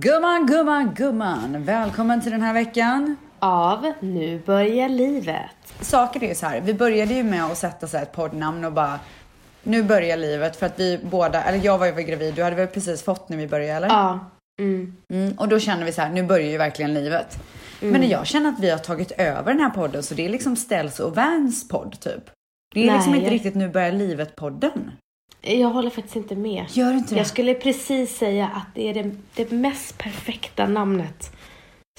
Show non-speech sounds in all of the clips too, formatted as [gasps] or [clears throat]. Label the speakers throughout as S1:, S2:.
S1: Gumman, gumman, gumman! Välkommen till den här veckan.
S2: Av Nu börjar livet.
S1: Saker är ju så här, vi började ju med att sätta så här ett poddnamn och bara nu börjar livet för att vi båda, eller jag var ju gravid, du hade väl precis fått när vi började eller?
S2: Ja. Mm.
S1: Mm, och då känner vi så här, nu börjar ju verkligen livet. Men jag känner att vi har tagit över den här podden så det är liksom Ställs och Vans podd typ. Det är liksom
S2: Nej.
S1: inte riktigt Nu börjar livet-podden.
S2: Jag håller faktiskt inte med.
S1: Gör inte det?
S2: Jag skulle precis säga att det är det, det mest perfekta namnet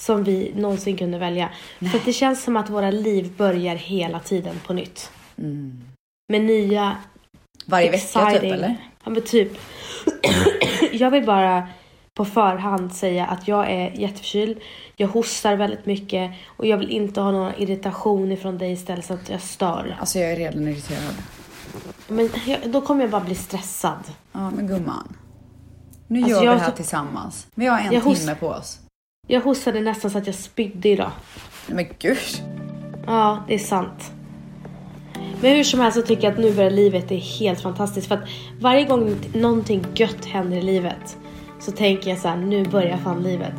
S2: som vi någonsin kunde välja. För att det känns som att våra liv börjar hela tiden på nytt.
S1: Mm.
S2: Med nya
S1: Varje vecka
S2: exciting-
S1: typ eller?
S2: Ja men typ. [clears throat] jag vill bara på förhand säga att jag är jätteförkyld. Jag hostar väldigt mycket och jag vill inte ha någon irritation ifrån dig istället så att jag stör.
S1: Alltså jag är redan irriterad.
S2: Men jag, då kommer jag bara bli stressad.
S1: Ja men gumman. Nu
S2: Alltså,
S1: gör
S2: jag
S1: vi det här
S2: så-
S1: tillsammans. Vi har en
S2: Jag hos-
S1: timme på oss.
S2: Jag hostade nästan så att jag spydde idag.
S1: Nej, men gud.
S2: Ja, det är sant. Men hur som helst så tycker jag att nu börjar livet är helt fantastiskt. För att varje gång någonting gött händer i livet så tänker jag så här, nu börjar fan livet.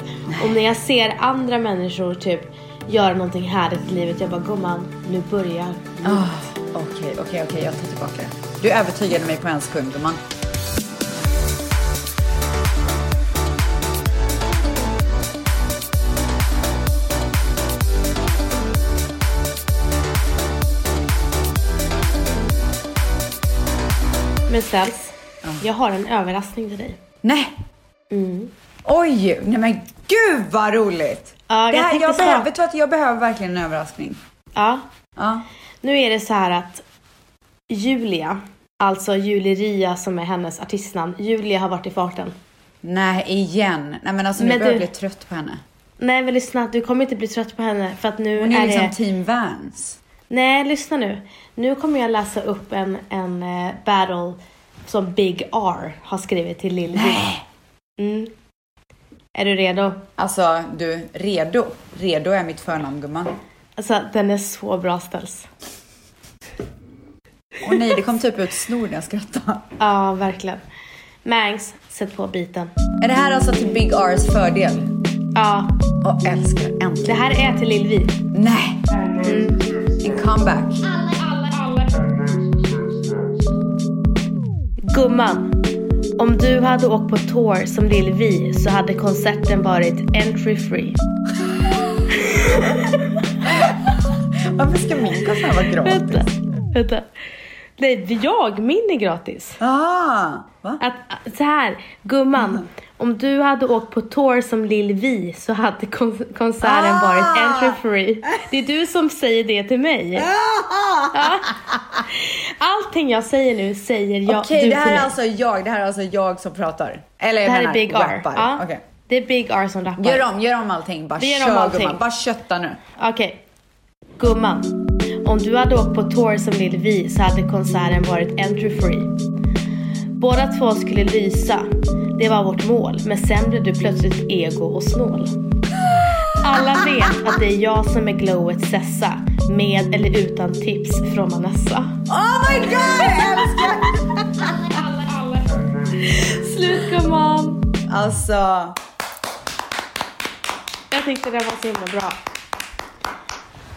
S2: Och när jag ser andra människor typ göra någonting härligt i livet, jag bara gumman, nu börjar
S1: Ah, Okej, okej, okej. Jag tar tillbaka det. Du övertygade mig på en sekund gumman.
S2: Men ställs, jag har en överraskning till dig.
S1: Nej!
S2: Mm.
S1: Oj! Nej men gud vad roligt!
S2: Ja,
S1: det
S2: jag
S1: här,
S2: tänkte
S1: jag,
S2: så.
S1: behöver, vet du att jag behöver verkligen en överraskning.
S2: Ja,
S1: Ja.
S2: nu är det så här att Julia, alltså Juleria som är hennes artistnamn, Julia har varit i farten.
S1: Nej, igen. Nej men alltså nu
S2: Men
S1: börjar jag
S2: du-
S1: bli trött på henne.
S2: Nej men lyssna, du kommer inte bli trött på henne för att nu
S1: Hon är
S2: är
S1: liksom
S2: det...
S1: team Vans.
S2: Nej, lyssna nu. Nu kommer jag läsa upp en, en eh, battle som Big R har skrivit till Lill
S1: Nej!
S2: mm. Är du redo?
S1: Alltså du, redo? Redo är mitt förnamn gumman.
S2: Alltså den är så bra ställs.
S1: Åh nej, det kom typ ut snor när jag skrattade.
S2: Ja, verkligen. Mangs, sätt på biten.
S1: Är det här alltså till Big R's fördel?
S2: Ja,
S1: Och älskar
S2: det
S1: äntligen.
S2: här är till Lill
S1: Nej! En comeback.
S2: Gumman, om du hade åkt på tour som Lill Vi så hade konserten varit entry free.
S1: Varför ska min konsert vara
S2: Vänta,
S1: gratis?
S2: vänta. Nej, jag, min är gratis.
S1: Ah, va?
S2: Att, så här, gumman. Om du hade åkt på tour som Lil Vi så hade kon- konserten
S1: Ah!
S2: varit entry free. Det är du som säger det till mig.
S1: [laughs]
S2: Ja. Allting jag säger nu säger jag,
S1: Okej,
S2: du
S1: det här
S2: till
S1: är
S2: mig.
S1: alltså jag. Det här är alltså jag som pratar. Eller
S2: det
S1: jag
S2: här är
S1: menar,
S2: Big R.
S1: rappar.
S2: Ja,
S1: Okej.
S2: Det är Big R som rappar.
S1: Gör om, gör om allting. Bara
S2: Vi gör om
S1: kör
S2: allting.
S1: gumman. Bara kötta nu.
S2: Okej. Gumman. Om du hade åkt på tour som Lil Vi så hade konserten varit entry free. Båda två skulle lysa. Det var vårt mål. Men sen blev du plötsligt ego och snål. Alla vet att det är jag som är glowet Sessa. Med eller utan tips från Vanessa.
S1: Oh my god, jag älskar!
S2: Slut gumman!
S1: Alltså,
S2: Jag tyckte det var så himla bra.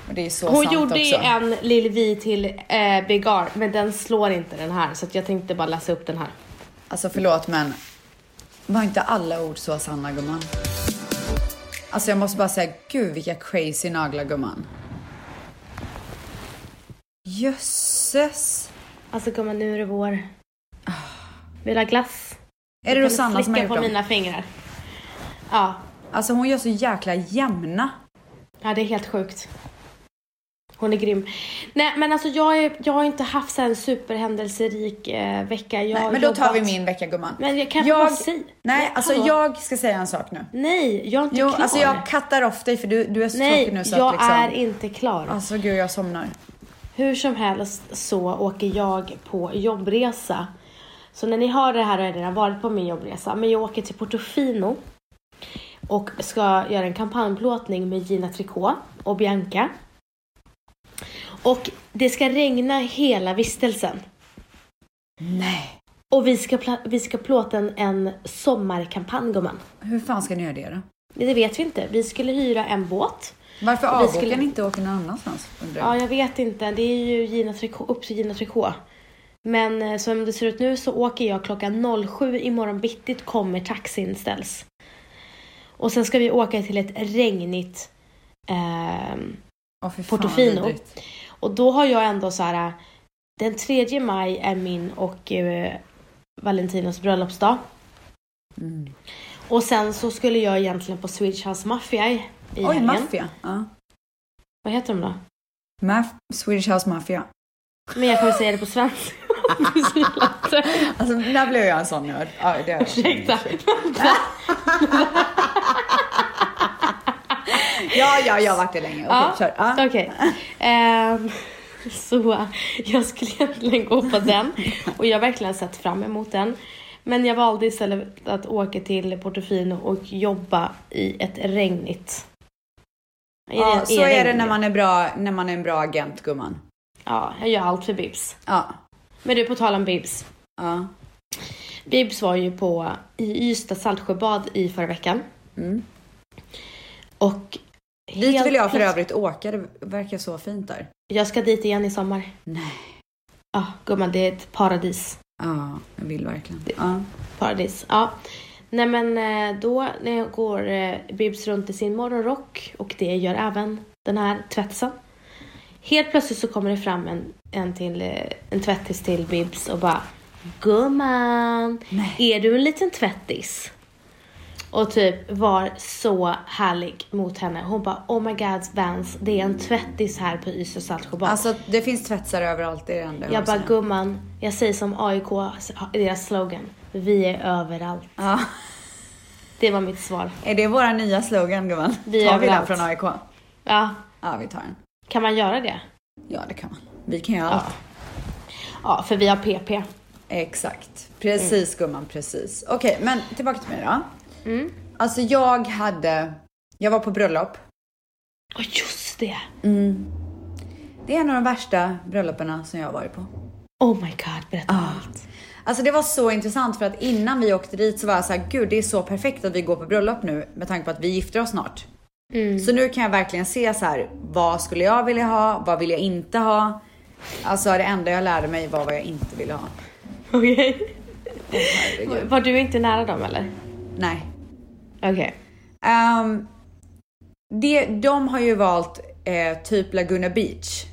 S1: och det är så
S2: Hon
S1: sant
S2: gjorde
S1: också.
S2: ju en Lil Vi till eh, Big R. Men den slår inte den här. Så att jag tänkte bara läsa upp den här.
S1: Alltså förlåt men var inte alla ord så sanna gumman? Alltså jag måste bara säga, gud vilka crazy naglar gumman. Jösses!
S2: Alltså gumman, nu är det vår. Vill du ha glass?
S1: Ah. Är det
S2: Kan du
S1: Rosanna som har
S2: slicka
S1: gjort
S2: på
S1: dem?
S2: mina fingrar. Ja.
S1: Alltså hon gör så jäkla jämna.
S2: ja, det är helt sjukt. Hon är grym. Nej, men alltså jag, är, jag har inte haft så här en superhändelserik eh, vecka. Jag
S1: Nej,
S2: har
S1: men då tar vi
S2: jobbat-
S1: min vecka gumman.
S2: Men jag kan bara säga-
S1: Nej,
S2: Nej,
S1: alltså
S2: hallå.
S1: jag ska säga en sak nu.
S2: Nej, jag är inte
S1: Jo,
S2: klar.
S1: alltså jag kattar off dig för du, du är så
S2: Nej,
S1: tråkig nu så
S2: jag
S1: att liksom...
S2: är inte klar.
S1: Alltså gud jag somnar.
S2: Hur som helst så åker jag på jobbresa. Så när ni hör det här har jag redan varit på min jobbresa. Men jag åker till Portofino och ska göra en kampanjplåtning med Gina Tricot och Bianca. Och det ska regna hela vistelsen.
S1: Nej.
S2: Och vi ska, pla- vi ska plåta en, en sommarkampanj gumman.
S1: Hur fan ska ni göra det då?
S2: Det vet vi inte. Vi skulle hyra en båt.
S1: Varför
S2: Vi
S1: avbokar
S2: skulle-
S1: ni inte och åker någon annanstans? undrar jag?
S2: Ja, jag vet inte. Det är ju Gina Tricot, upp till Gina Tricot. Men eh, som det ser ut nu så åker jag klockan 07 imorgon bittigt kommer taxin ställs. Och sen ska vi åka till ett regnigt ehm,
S1: Åh, fy fan,
S2: Portofino.
S1: vidrigt.
S2: Och då har jag ändå så här. Den 3 maj är min och eh, Valentinos bröllopsdag.
S1: Mm.
S2: Och sen så skulle jag egentligen på Swedish House Mafia i
S1: Oj,
S2: i helgen.
S1: maffia. Ja.
S2: Vad heter de då?
S1: Maff- Swedish House Mafia.
S2: Men jag kommer säga det
S1: [laughs]
S2: på svenska. [laughs] om du så gillar det.
S1: Alltså, där blev jag en sån nörd. Ja, det är
S2: Ursäkta.
S1: Ja, ja, jag har varit det länge. Okej,
S2: Ja,
S1: kör. Ja.
S2: Okej. Ehm, så jag skulle egentligen gå på den och jag har verkligen sett fram emot den. Men jag valde istället att åka till Portofino och jobba i ett regnigt. i
S1: Ja,
S2: en- i
S1: så
S2: en
S1: är det
S2: regnig-
S1: när man är, bra, när man är en bra agent, gumman.
S2: Ja, jag gör allt för Bibs.
S1: Ja.
S2: Men du, på tal om Bibs.
S1: ja.
S2: Bibs var ju på i Ystad Saltsjöbad i förra veckan.
S1: Mm.
S2: Och
S1: Dit
S2: helt
S1: vill jag för
S2: plöts-
S1: övrigt åka. Det verkar så fint där.
S2: Jag ska dit igen i sommar.
S1: Nej.
S2: Ja, gumman, det är ett paradis.
S1: Ja, jag vill verkligen. Ja.
S2: Paradis, ja. Nej men eh, då när jag går eh, Bibs runt i sin morgonrock och det gör även den här tvättsen. Helt plötsligt så kommer det fram en, en, till, eh, en tvättis till Bibs och bara Gumman,
S1: Nej.
S2: är du en liten tvättis? Och typ var så härlig mot henne. Hon bara Oh my god Vans, det är en tvättis här på Ystad Saltsjöbad.
S1: Alltså, det finns tvättsar överallt. Det är det enda
S2: jag
S1: har
S2: bara
S1: att säga.
S2: gumman, jag säger som AIK, alltså, deras slogan. Vi är överallt.
S1: Ja.
S2: Det var mitt svar.
S1: Är det våra nya slogan, gumman?
S2: Vi
S1: tar vi den
S2: överallt.
S1: från AIK?
S2: Ja,
S1: Ja, vi tar den.
S2: kan man göra det?
S1: Ja, det kan man. Vi kan göra allt.
S2: Ja, för vi har PP.
S1: Exakt. Precis gumman, precis. Okej, men tillbaka till mig då.
S2: Mm.
S1: Alltså jag hade, jag var på bröllop.
S2: Ja, just det!
S1: Det är en av de värsta brölloperna som jag har varit på.
S2: Oh my god, berätta allt.
S1: Alltså det var så intressant för att innan vi åkte dit så var jag så här, gud det är så perfekt att vi går på bröllop nu med tanke på att vi gifter oss snart. Så nu kan jag verkligen se så här, vad skulle jag vilja ha? Vad vill jag inte ha? Alltså det enda jag lärde mig var vad jag inte ville ha.
S2: Okej.
S1: Herregud.
S2: Var du inte nära dem eller?
S1: Nej,
S2: Okej.
S1: Ehm, det, de har ju valt eh, typ Laguna Beach.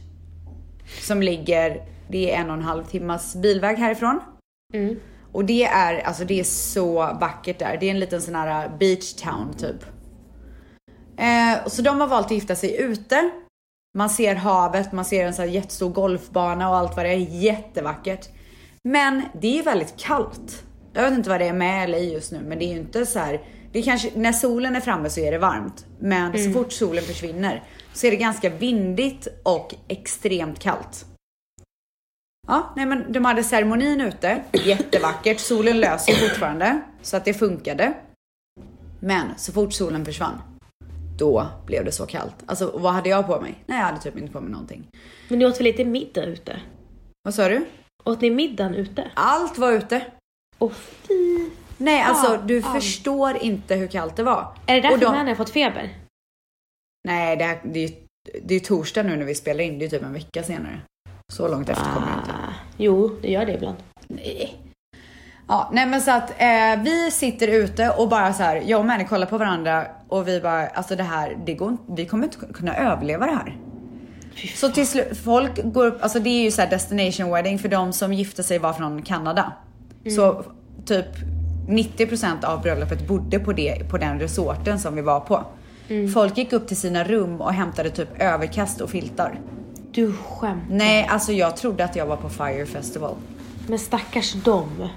S1: Som ligger, det är en och en halv timmas bilväg härifrån.
S2: Mm.
S1: Och det är, alltså det är så vackert där. Det är en liten sån här eh, beach town typ. Eh, så de har valt att gifta sig ute. Man ser havet, man ser en sån här jättestor golfbana och allt vad det är. Jättevackert. Men det är väldigt kallt. Jag vet inte vad det är med LA just nu, men det är ju inte så här. Det är kanske, när solen är framme så är det varmt, men så fort solen försvinner så är det ganska vindigt och extremt kallt. Ja, nej men de hade ceremonin ute, jättevackert, solen löser fortfarande så att det funkade. Men så fort solen försvann, då blev det så kallt. Alltså vad hade jag på mig? Nej jag hade typ inte på mig någonting.
S2: Men ni åt väl lite middag ute?
S1: Vad sa du?
S2: Åt ni middagen ute?
S1: Allt var ute.
S2: Åh fy!
S1: Nej alltså
S2: Ja,
S1: du
S2: ja.
S1: förstår inte hur kallt det var.
S2: Är det därför
S1: Och de-
S2: männen har fått feber?
S1: Nej det, här, det, är ju, det är ju torsdag nu när vi spelar in, det är typ en vecka senare. Så långt efter kommer jag inte.
S2: Ah, jo, det gör det ibland.
S1: Nej. Ja, nej men så att eh, vi sitter ute och bara så här, jag och Manny kollar på varandra och vi bara, alltså det här, det går inte- vi kommer inte kunna överleva det här. Så till slut, folk går upp, alltså det är ju så här destination wedding för de som gifte sig var från Kanada. Så typ 90% av bröllopet bodde på, det, på den resorten som vi var på. Folk gick upp till sina rum och hämtade typ överkast och filtar.
S2: Du skämt.
S1: Nej, alltså jag trodde att jag var på Fire Festival.
S2: Men stackars dem.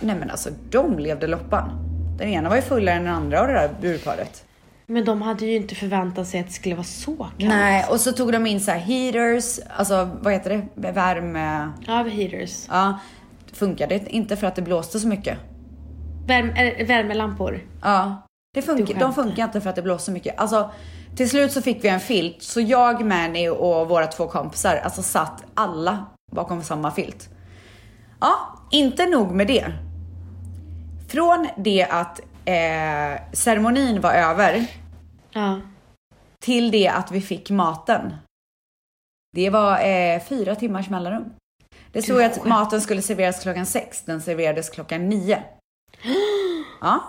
S1: Nej men alltså de levde loppan. Den ena var ju fullare än den andra av det där burparet.
S2: Men de hade ju inte förväntat sig att det skulle vara så kallt.
S1: Nej, och så tog de in så här heaters, alltså vad heter det, värme.
S2: Overheaters.
S1: Ja, funkade inte för att det blåste så mycket.
S2: Värme, äh, värmelampor.
S1: Ja, det
S2: Du
S1: funkar,
S2: skämtar.
S1: de funkar inte för att det blåste så mycket. Alltså till slut så fick vi en filt, så jag, Manny och våra två kompisar, alltså satt alla bakom samma filt. Ja, inte nog med det. Från det att eh, ceremonin var över
S2: Ja.
S1: till det att vi fick maten. Det var eh, fyra timmars mellanrum. Det stod att maten skulle serveras klockan sex, den serverades klockan nio. Ja.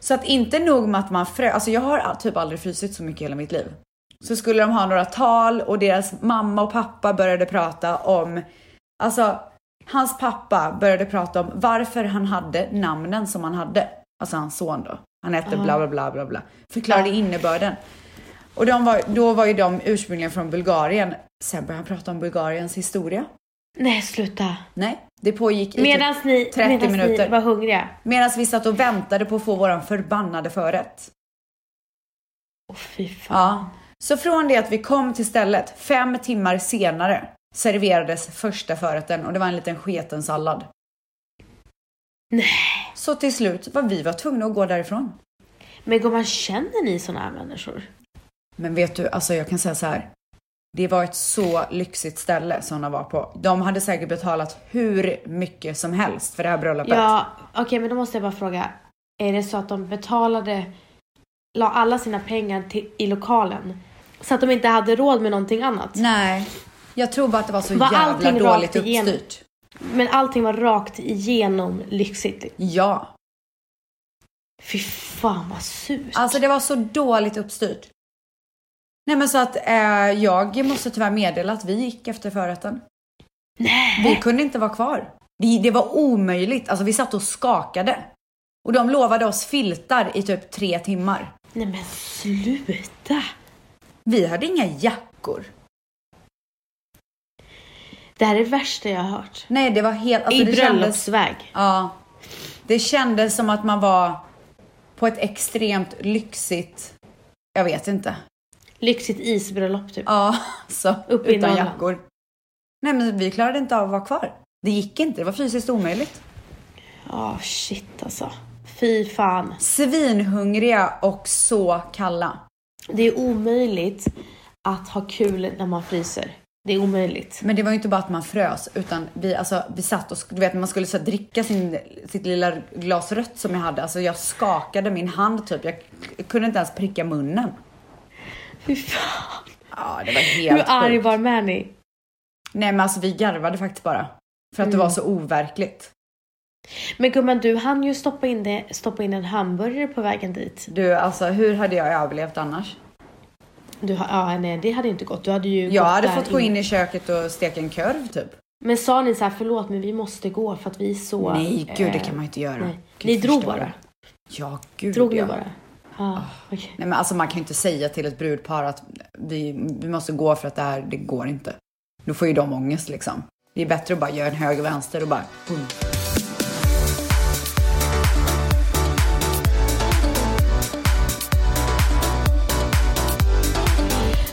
S1: Så att inte nog med att man frö... Alltså jag har all- typ aldrig frysit så mycket i hela mitt liv. Så skulle de ha några tal och deras mamma och pappa började prata om... Alltså, hans pappa började prata om varför han hade namnen som han hade. Alltså hans son då. Han hette bla bla bla bla bla. Förklarade innebörden. Och de var, då var ju de ursprungligen från Bulgarien. Sen började han prata om Bulgariens historia.
S2: Nej, sluta.
S1: Nej, det pågick i
S2: Medan ni,
S1: 30
S2: medans ni
S1: minuter.
S2: var hungriga.
S1: Medan vi satt och väntade på att få våran förbannade förrätt.
S2: Åh fy fan.
S1: Ja. Så från det att vi kom till stället, fem timmar senare, serverades första förrätten och det var en liten sketen sallad.
S2: Nej.
S1: Så till slut var vi var tvungna att gå därifrån.
S2: Men gumman, känner ni sådana här människor?
S1: Men vet du, alltså jag kan säga så här. Det var ett så lyxigt ställe som de var på. De hade säkert betalat hur mycket som helst för det här bröllopet.
S2: Ja, okej men då måste jag bara fråga. Är det så att de betalade, la alla sina pengar till, i lokalen? Så att de inte hade råd med någonting annat?
S1: Nej, jag tror bara att det var så
S2: Var
S1: jävla
S2: allting
S1: dåligt
S2: rakt igenom?
S1: uppstyrt.
S2: Men allting var rakt igenom lyxigt.
S1: Ja,
S2: Fy fan vad surt.
S1: Alltså det var så dåligt uppstyrt. Nej men så att eh, jag måste tyvärr meddela att vi gick efter förrätten.
S2: Nej.
S1: Vi kunde inte vara kvar. Det, det var omöjligt. Alltså vi satt och skakade. Och de lovade oss filtar i typ tre timmar.
S2: Nej men sluta.
S1: Vi hade inga jackor.
S2: Det här är det värsta jag har hört.
S1: Nej det var helt... Alltså,
S2: I
S1: det kändes,
S2: bröllopsväg.
S1: Ja. Det kändes som att man var på ett extremt lyxigt... Jag vet inte.
S2: Lyxigt isbröllop typ.
S1: Ja, [laughs] så
S2: Uppe i
S1: utan
S2: Norrland.
S1: jackor. Nej men vi klarade inte av att vara kvar. Det gick inte, det var fysiskt omöjligt.
S2: Ja, shit alltså. Fy fan.
S1: Svinhungriga och så kalla.
S2: Det är omöjligt att ha kul när man fryser. Det är omöjligt.
S1: Men det var ju inte bara att man frös utan vi, alltså, vi satt och, sk- du vet när man skulle så här, dricka sin, sitt lilla glas rött som jag hade. Alltså jag skakade min hand typ. Jag k- kunde inte ens pricka munnen.
S2: Fy fan.
S1: Ja det var
S2: Hur
S1: helt
S2: arg
S1: sjukt.
S2: var Manny?
S1: Nej men alltså vi garvade faktiskt bara. För att det var
S2: Mm.
S1: så overkligt.
S2: Men gumman, du hann ju stoppa in, det, stoppa in en hamburgare på vägen dit.
S1: Du alltså hur hade jag överlevt annars?
S2: Du, ha- ja, nej, det hade inte gått. Du hade ju
S1: Jag
S2: gått
S1: hade
S2: där
S1: fått gå in i köket och steka en korv typ.
S2: Men sa ni så här, förlåt men vi måste gå för att vi är så...
S1: Nej, gud det
S2: eh,
S1: kan man ju inte göra.
S2: nej.
S1: Gud,
S2: Ni drog
S1: förstår
S2: bara?
S1: du? Ja, gud
S2: Drog ni
S1: ja.
S2: bara? Ja, okej.
S1: Nej men alltså man kan ju inte säga till ett brudpar att vi, vi måste gå för att det här, det går inte. Då får ju de ångest liksom. Det är bättre att bara göra en höger vänster och bara
S2: Mm.
S1: boom.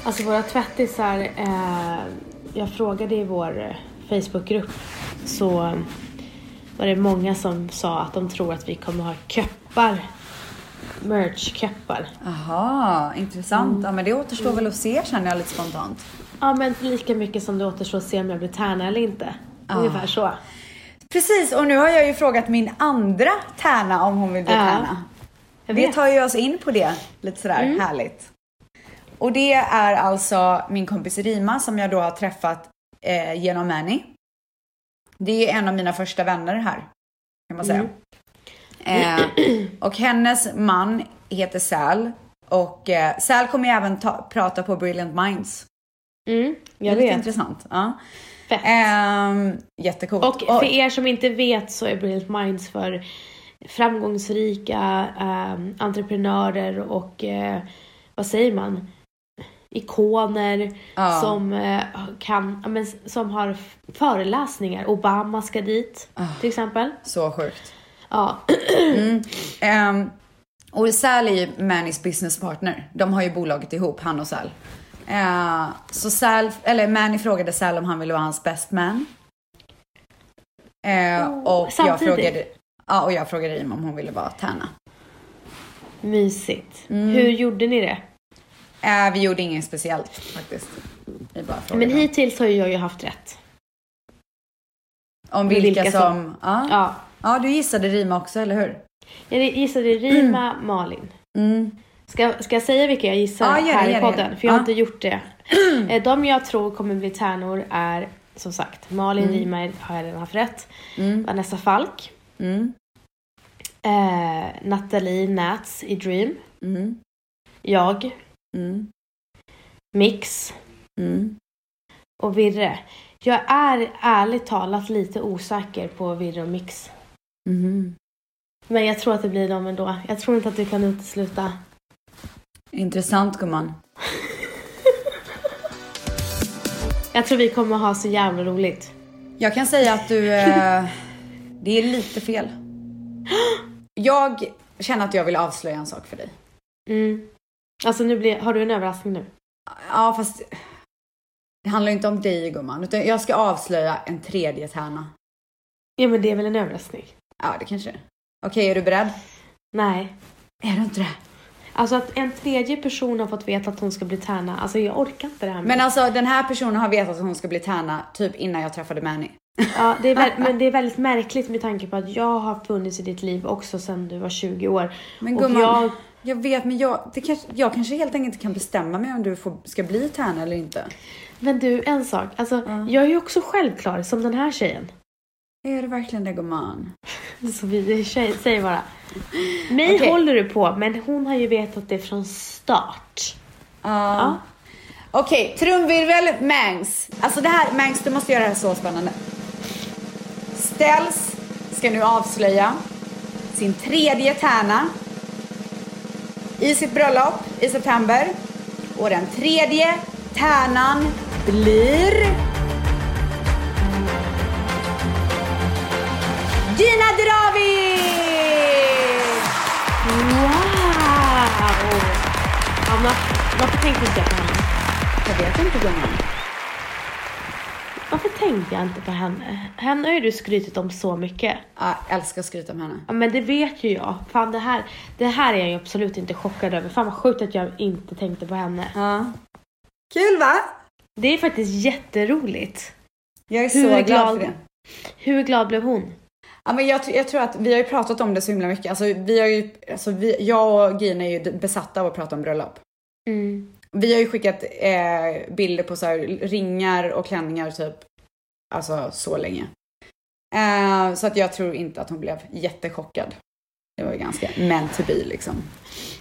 S2: Alltså våra tvättisar, eh, jag frågade i vår eh, Facebookgrupp så var det många som sa att de tror att vi kommer ha köppar, merch-köppar.
S1: Aha, intressant.
S2: Mm.
S1: Ja men det återstår väl att se känner jag lite spontant.
S2: Ja men lika mycket som det återstår att se om jag blir tärna eller inte. Ungefär så.
S1: Precis och nu har jag ju frågat min andra tärna om hon vill bli
S2: Ja,
S1: tärna.
S2: Jag
S1: Vi
S2: vet. Mm.
S1: tar ju oss in på det lite sådär härligt. Och det är alltså min kompis Rima som jag då har träffat eh, genom Manny. Det är en av mina första vänner här kan man säga.
S2: Mm.
S1: Eh, och hennes man heter Säl och eh, Säl kommer ju även ta- prata på Brilliant Minds.
S2: Mm, jag
S1: det är lite
S2: vet.
S1: intressant. Ja.
S2: Fett.
S1: Ehm, jättecoolt.
S2: Och för er som inte vet så är Brilliant Minds för framgångsrika ehm, entreprenörer och eh, vad säger man? Ikoner
S1: Ja.
S2: som, eh, kan, ja, men, s- som har f- föreläsningar. Obama ska dit till exempel.
S1: så sjukt.
S2: Ja. [clears throat]
S1: Ehm, och Säl är ju Mannys businesspartner. De har ju bolaget ihop, han och Säl. Eh, så Säl, eller Manny frågade Säl om han ville vara hans best man. Eh,
S2: Oh,
S1: och, jag
S2: samtidigt.
S1: frågade, ja, och jag frågade Im om hon ville vara Tärna.
S2: Mysigt. Hur gjorde ni det?
S1: Eh, vi gjorde inget speciellt faktiskt. Vi bara frågade.
S2: Men hittills har ju jag ju haft rätt.
S1: Om
S2: Eller
S1: vilka,
S2: vilka
S1: som...
S2: som-
S1: Ja. ja.
S2: Ja.
S1: du gissade Rima också, eller hur?
S2: Jag gissade Rima, Malin.
S1: Mm.
S2: Ska, ska jag säga vilka jag gissar
S1: Ja, gör det,
S2: här
S1: gör
S2: i
S1: det, gör
S2: podden?
S1: det.
S2: För jag har
S1: Ja.
S2: inte
S1: [clears throat]
S2: gjort det. Eh, De jag tror kommer bli tärnor är som sagt Malin Rima har jag redan haft rätt. Vanessa Falk.
S1: Mm.
S2: Eh, Nathalie Nats i Dream.
S1: Mm.
S2: Jag.
S1: Mm.
S2: Mix.
S1: Mm.
S2: Och Virre. Jag är ärligt talat lite osäker på Virre och Mix.
S1: Mhm.
S2: Men jag tror att det blir dem ändå. Jag tror inte att du kan utesluta.
S1: Intressant gumman.
S2: Jag tror vi kommer ha så jävla roligt.
S1: Jag kan säga att du... [laughs] Eh, det är lite fel. Jag känner att jag vill avslöja en sak för dig.
S2: Mm. Alltså nu blir, har du en överraskning nu?
S1: Ja, fast... Det handlar ju inte om dig gumman, utan jag ska avslöja en tredje tärna.
S2: Ja men det är väl en överraskning?
S1: Ja, det kanske det är. Okej, är du beredd?
S2: Nej.
S1: Är du inte det?
S2: Alltså att en tredje person har fått veta att hon ska bli tärna. Alltså jag orkar inte det här med.
S1: Men alltså den här personen har vetat att hon ska bli tärna typ innan jag träffade Manny.
S2: Ja, det är väl, men det är väldigt märkligt med tanke på att jag har funnits i ditt liv också sedan du var 20 år.
S1: Men
S2: Och
S1: gumman, jag...
S2: jag-
S1: vet men jag, det kanske, jag kanske helt enkelt inte kan bestämma mig om du får, ska bli tärna eller inte.
S2: Men du, en sak. Alltså, Jag är ju också självklar som den här tjejen.
S1: Är det verkligen det gumman?
S2: Så vi tjej, säger bara. Mig
S1: Okej.
S2: håller du på, men hon har ju vetat det från start.
S1: Ja. Okej, trumvirvel, Mangs. Alltså det här, Mangs du måste göra det här så spännande. Ställs ska nu avslöja sin tredje tärna i sitt bröllop i september. Och den tredje tärnan blir... Gina Dravid!
S2: Wow! Ja, men, varför tänkte inte jag på henne?
S1: Jag vet inte gumman.
S2: Varför tänkte jag inte på henne? Henne har ju du skrytit om så mycket.
S1: Ja, älskar att skryta om henne.
S2: Ja men det vet ju jag. Fan det här, det här är jag ju absolut inte chockad över. Fan vad sjukt att jag inte tänkte på henne.
S1: Ja. Kul va?
S2: Det är faktiskt jätteroligt.
S1: Jag är
S2: Hur
S1: så glad,
S2: glad-
S1: för det.
S2: Hur glad blev hon?
S1: Ja, men jag, tr- jag tror att vi har ju pratat om det så himla mycket. Alltså, vi har ju, alltså, vi, jag och Gina är ju d- besatta av att prata om bröllop.
S2: Mm.
S1: Vi har ju skickat eh, bilder på så här, ringar och klänningar typ, alltså så länge. Eh, så att jag tror inte att hon blev jättechockad. Det var ju ganska meant to be liksom.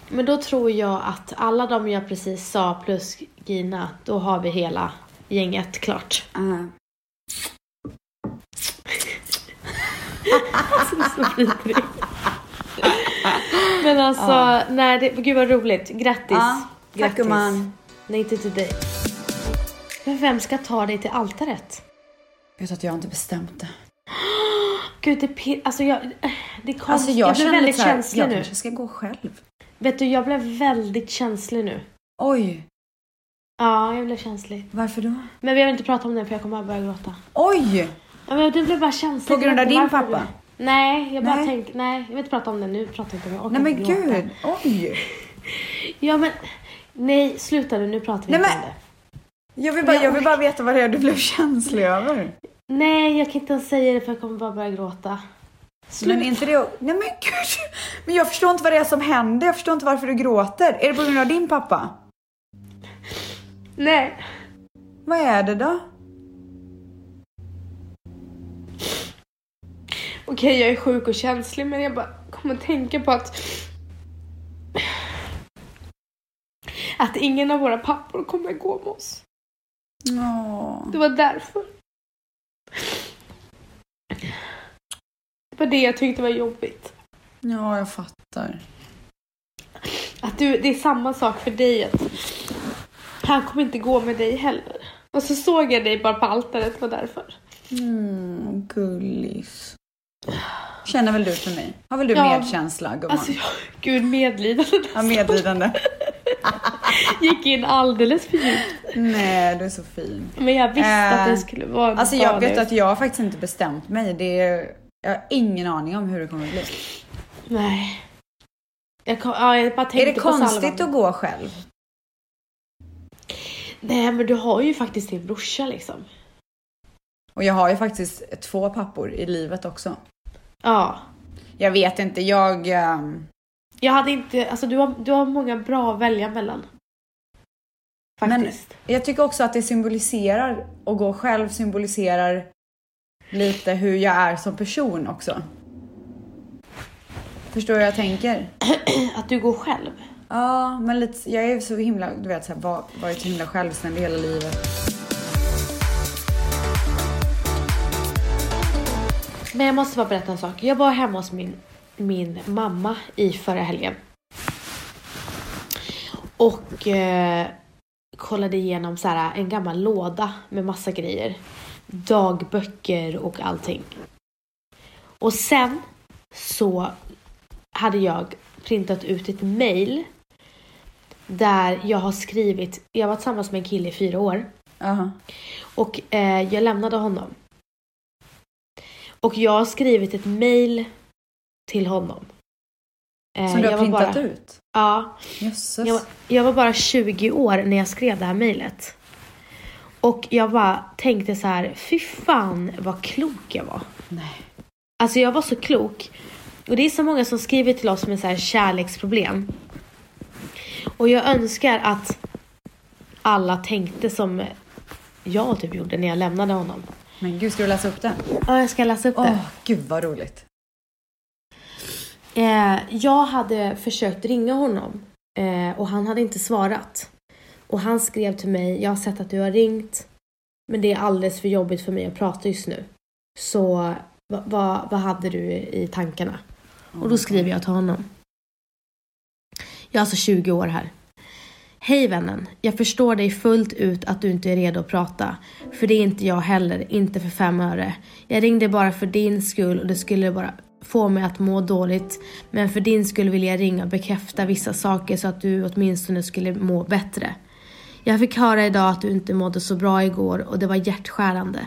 S2: Men då tror jag att alla de jag precis sa plus Gina, då har vi hela gänget klart.
S1: Eh,
S2: Så vidrig. men alltså, nej det, gud vad roligt. Grattis.
S1: Ja, Ah, tack,
S2: Grattis.
S1: gumman.
S2: Nej inte till dig. Men vem ska ta dig till altaret?
S1: vet att jag inte bestämt det.
S2: Gud, det pir- alltså jag, det kom,
S1: Alltså jag,
S2: jag, blev
S1: känner
S2: väldigt
S1: så här,
S2: känslig
S1: jag
S2: nu.
S1: kanske ska gå själv.
S2: Vet du, jag blev väldigt känslig nu.
S1: Oj,
S2: Ja, jag blev känslig.
S1: varför då?
S2: Men vi behöver inte prata om det för jag kommer bara börja gråta.
S1: Oj!
S2: Ja, men det blev bara känsligt.
S1: På grund av
S2: Jag vet inte
S1: din
S2: varför
S1: pappa?
S2: det- Nej, jag bara
S1: Nej.
S2: tänkte, nej, jag vill inte prata om det nu. Prata inte om det. Jag orkar
S1: Nej men
S2: inte gråta.
S1: gud, oj!
S2: Ja, men nej, sluta nu. Nu pratar vi
S1: Nej,
S2: inte
S1: men-
S2: om det.
S1: Jag vill, bara, jag vill bara veta vad det är du blev känslig över.
S2: Nej, jag kan inte ens säga det för jag kommer bara börja gråta.
S1: Men
S2: Sluta.
S1: inte det Nej men gud. Men jag förstår inte vad det är som händer. Jag förstår inte varför du gråter. Är det på grund av din pappa?
S2: Nej.
S1: Vad är det då?
S2: Okej, jag är sjuk och känslig men jag bara kommer att tänka på att att ingen av våra pappor kommer att gå med oss.
S1: Åh.
S2: Det var därför. Det var det jag tyckte var jobbigt.
S1: Ja, jag fattar.
S2: Att du, det är samma sak för dig att han kommer inte gå med dig heller. Och så såg jag dig bara på altaret, det var därför.
S1: Mm, gullis. Känner väl du för mig? Har väl du
S2: Ja.
S1: medkänsla gumman?
S2: Alltså, jag, gud medlidande.
S1: ja, medlidande.
S2: Gick in alldeles för djupt.
S1: Nej, du är så fin.
S2: Men jag visste
S1: Eh,
S2: att det skulle vara en
S1: Alltså jag
S2: barn
S1: vet
S2: där.
S1: att jag har faktiskt inte bestämt mig. Det är... Jag har ingen aning om hur det kommer bli.
S2: Nej. Jag, kom, ja, jag bara
S1: Är
S2: tänkte
S1: det
S2: på
S1: konstigt
S2: Salvan.
S1: att gå själv?
S2: Nej men du har ju faktiskt din brorsa liksom.
S1: Och jag har ju faktiskt två pappor i livet också.
S2: Ja.
S1: Jag vet inte, jag... ehm,
S2: Jag hade inte, alltså du har, du har många bra att välja mellan. Faktiskt.
S1: Jag tycker också att det symboliserar, och gå själv symboliserar lite hur jag är som person också. Förstår du hur jag tänker?
S2: Att du går själv.
S1: Ja, men lite, jag är ju så himla, du vet, så här, va- varit så himla självständig hela livet.
S2: Men jag måste bara berätta en sak. Jag var hemma hos min, min mamma i förra helgen. Och eh, kollade igenom så här, en gammal låda med massa grejer. Dagböcker och allting. Och sen så hade jag printat ut ett mail där jag har skrivit, jag var tillsammans med en kille i fyra år.
S1: Jaha.
S2: Och eh, jag lämnade honom. Och jag har skrivit ett mail till honom. Eh,
S1: Som du har
S2: jag var
S1: printat
S2: bara,
S1: ut?
S2: Ja.
S1: Jösses.
S2: Jag, var- jag var bara 20 år när jag skrev det här mejlet. Och jag bara tänkte så här, fy fan vad klok jag var.
S1: Nej.
S2: Alltså jag var så klok. Och det är så många som skriver till oss med så här kärleksproblem. Och jag önskar att alla tänkte som jag typ gjorde när jag lämnade honom.
S1: Men gud, ska du läsa upp den?
S2: Ja, jag ska läsa upp
S1: Åh,
S2: det.
S1: gud vad roligt.
S2: Eh, jag hade försökt ringa honom eh, och han hade inte svarat. Och han skrev till mig, jag har sett att du har ringt men det är alldeles för jobbigt för mig att prata just nu. Så va- va- vad hade du i tankarna? Och då skriver jag till honom. Jag är alltså 20 år här. Hej vännen, jag förstår dig fullt ut att du inte är redo att prata. För det är inte jag heller, inte för fem öre. Jag ringde bara för din skull och det skulle bara få mig att må dåligt. Men för din skull vill jag ringa och bekräfta vissa saker så att du åtminstone skulle må bättre. Jag fick höra idag att du inte mådde så bra igår och det var hjärtskärande.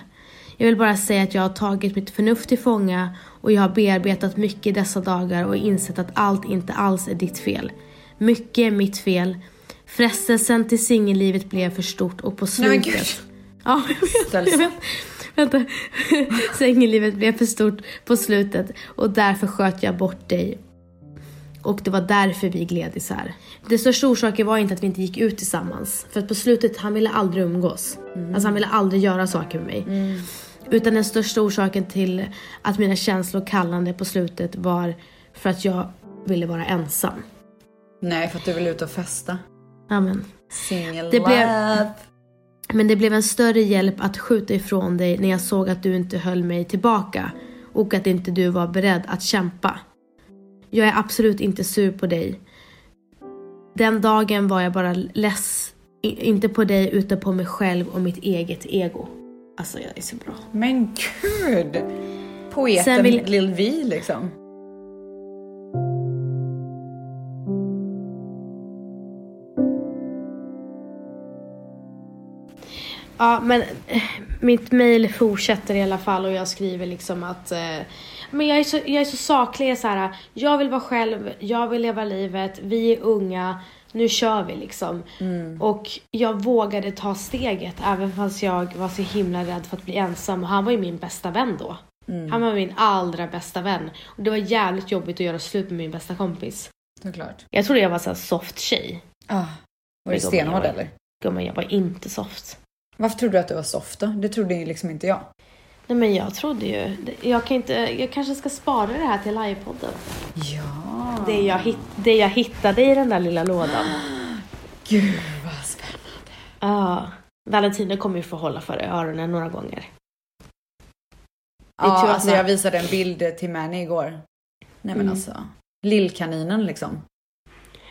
S2: Jag vill bara säga att jag har tagit mitt förnuft till fånga och jag har bearbetat mycket i dessa dagar och insett att allt inte alls är ditt fel. Mycket är mitt fel. Frestelsen till singellivet blev för stort och på
S1: Nej, men
S2: slutet...
S1: gud.
S2: Ja, jag vet. Jag vet. Vänta. [laughs] Sänglivet blev för stort på slutet och därför sköt jag bort dig. Och det var därför vi gled isär. Den största orsaken var inte att vi inte gick ut tillsammans. För att på slutet, han ville aldrig umgås. Alltså han ville aldrig göra saker med mig. Utan den största orsaken till att mina känslor kallande på slutet var för att jag ville vara ensam.
S1: Nej, för att du vill ut och festa.
S2: Amen.
S1: Single
S2: Det blev-
S1: love.
S2: Men det blev en större hjälp att skjuta ifrån dig när jag såg att du inte höll mig tillbaka och att inte du var beredd att kämpa. Jag är absolut inte sur på dig. Den dagen var jag bara less, i- inte på dig utan på mig själv och mitt eget ego. Alltså jag är så bra.
S1: Men gud! Poeten
S2: Sen vill-
S1: Lil Vi liksom.
S2: Ja, men eh, mitt mail fortsätter i alla fall och jag skriver liksom att eh, men jag är så, jag är så saklig. jag är Så här, jag vill vara själv, jag vill leva livet, vi är unga, nu kör vi liksom. Och jag vågade ta steget även fast jag var så himla rädd för att bli ensam. Och han var ju min bästa vän då. Han var min allra bästa vän. Och det var jävligt jobbigt att göra slut med min bästa kompis.
S1: Såklart.
S2: Jag trodde jag var så här soft tjej.
S1: Ah, var
S2: Det
S1: du
S2: går
S1: stenhård
S2: bra.
S1: eller?
S2: Gumman, jag var inte soft.
S1: Varför trodde du att du var soft då? Det trodde ju liksom inte jag.
S2: Nej men jag trodde ju, jag, kan inte, jag kanske ska spara det här till livepodden.
S1: Ja.
S2: Det, jag hit, det jag hittade i den där lilla lådan.
S1: Gud vad spännande.
S2: Ja. Valentino kommer ju få hålla för öronen några gånger.
S1: Ja,
S2: tur att
S1: alltså
S2: man-
S1: jag visade en bild till Manny igår. Nej men
S2: Mm.
S1: alltså. Lillkaninen liksom.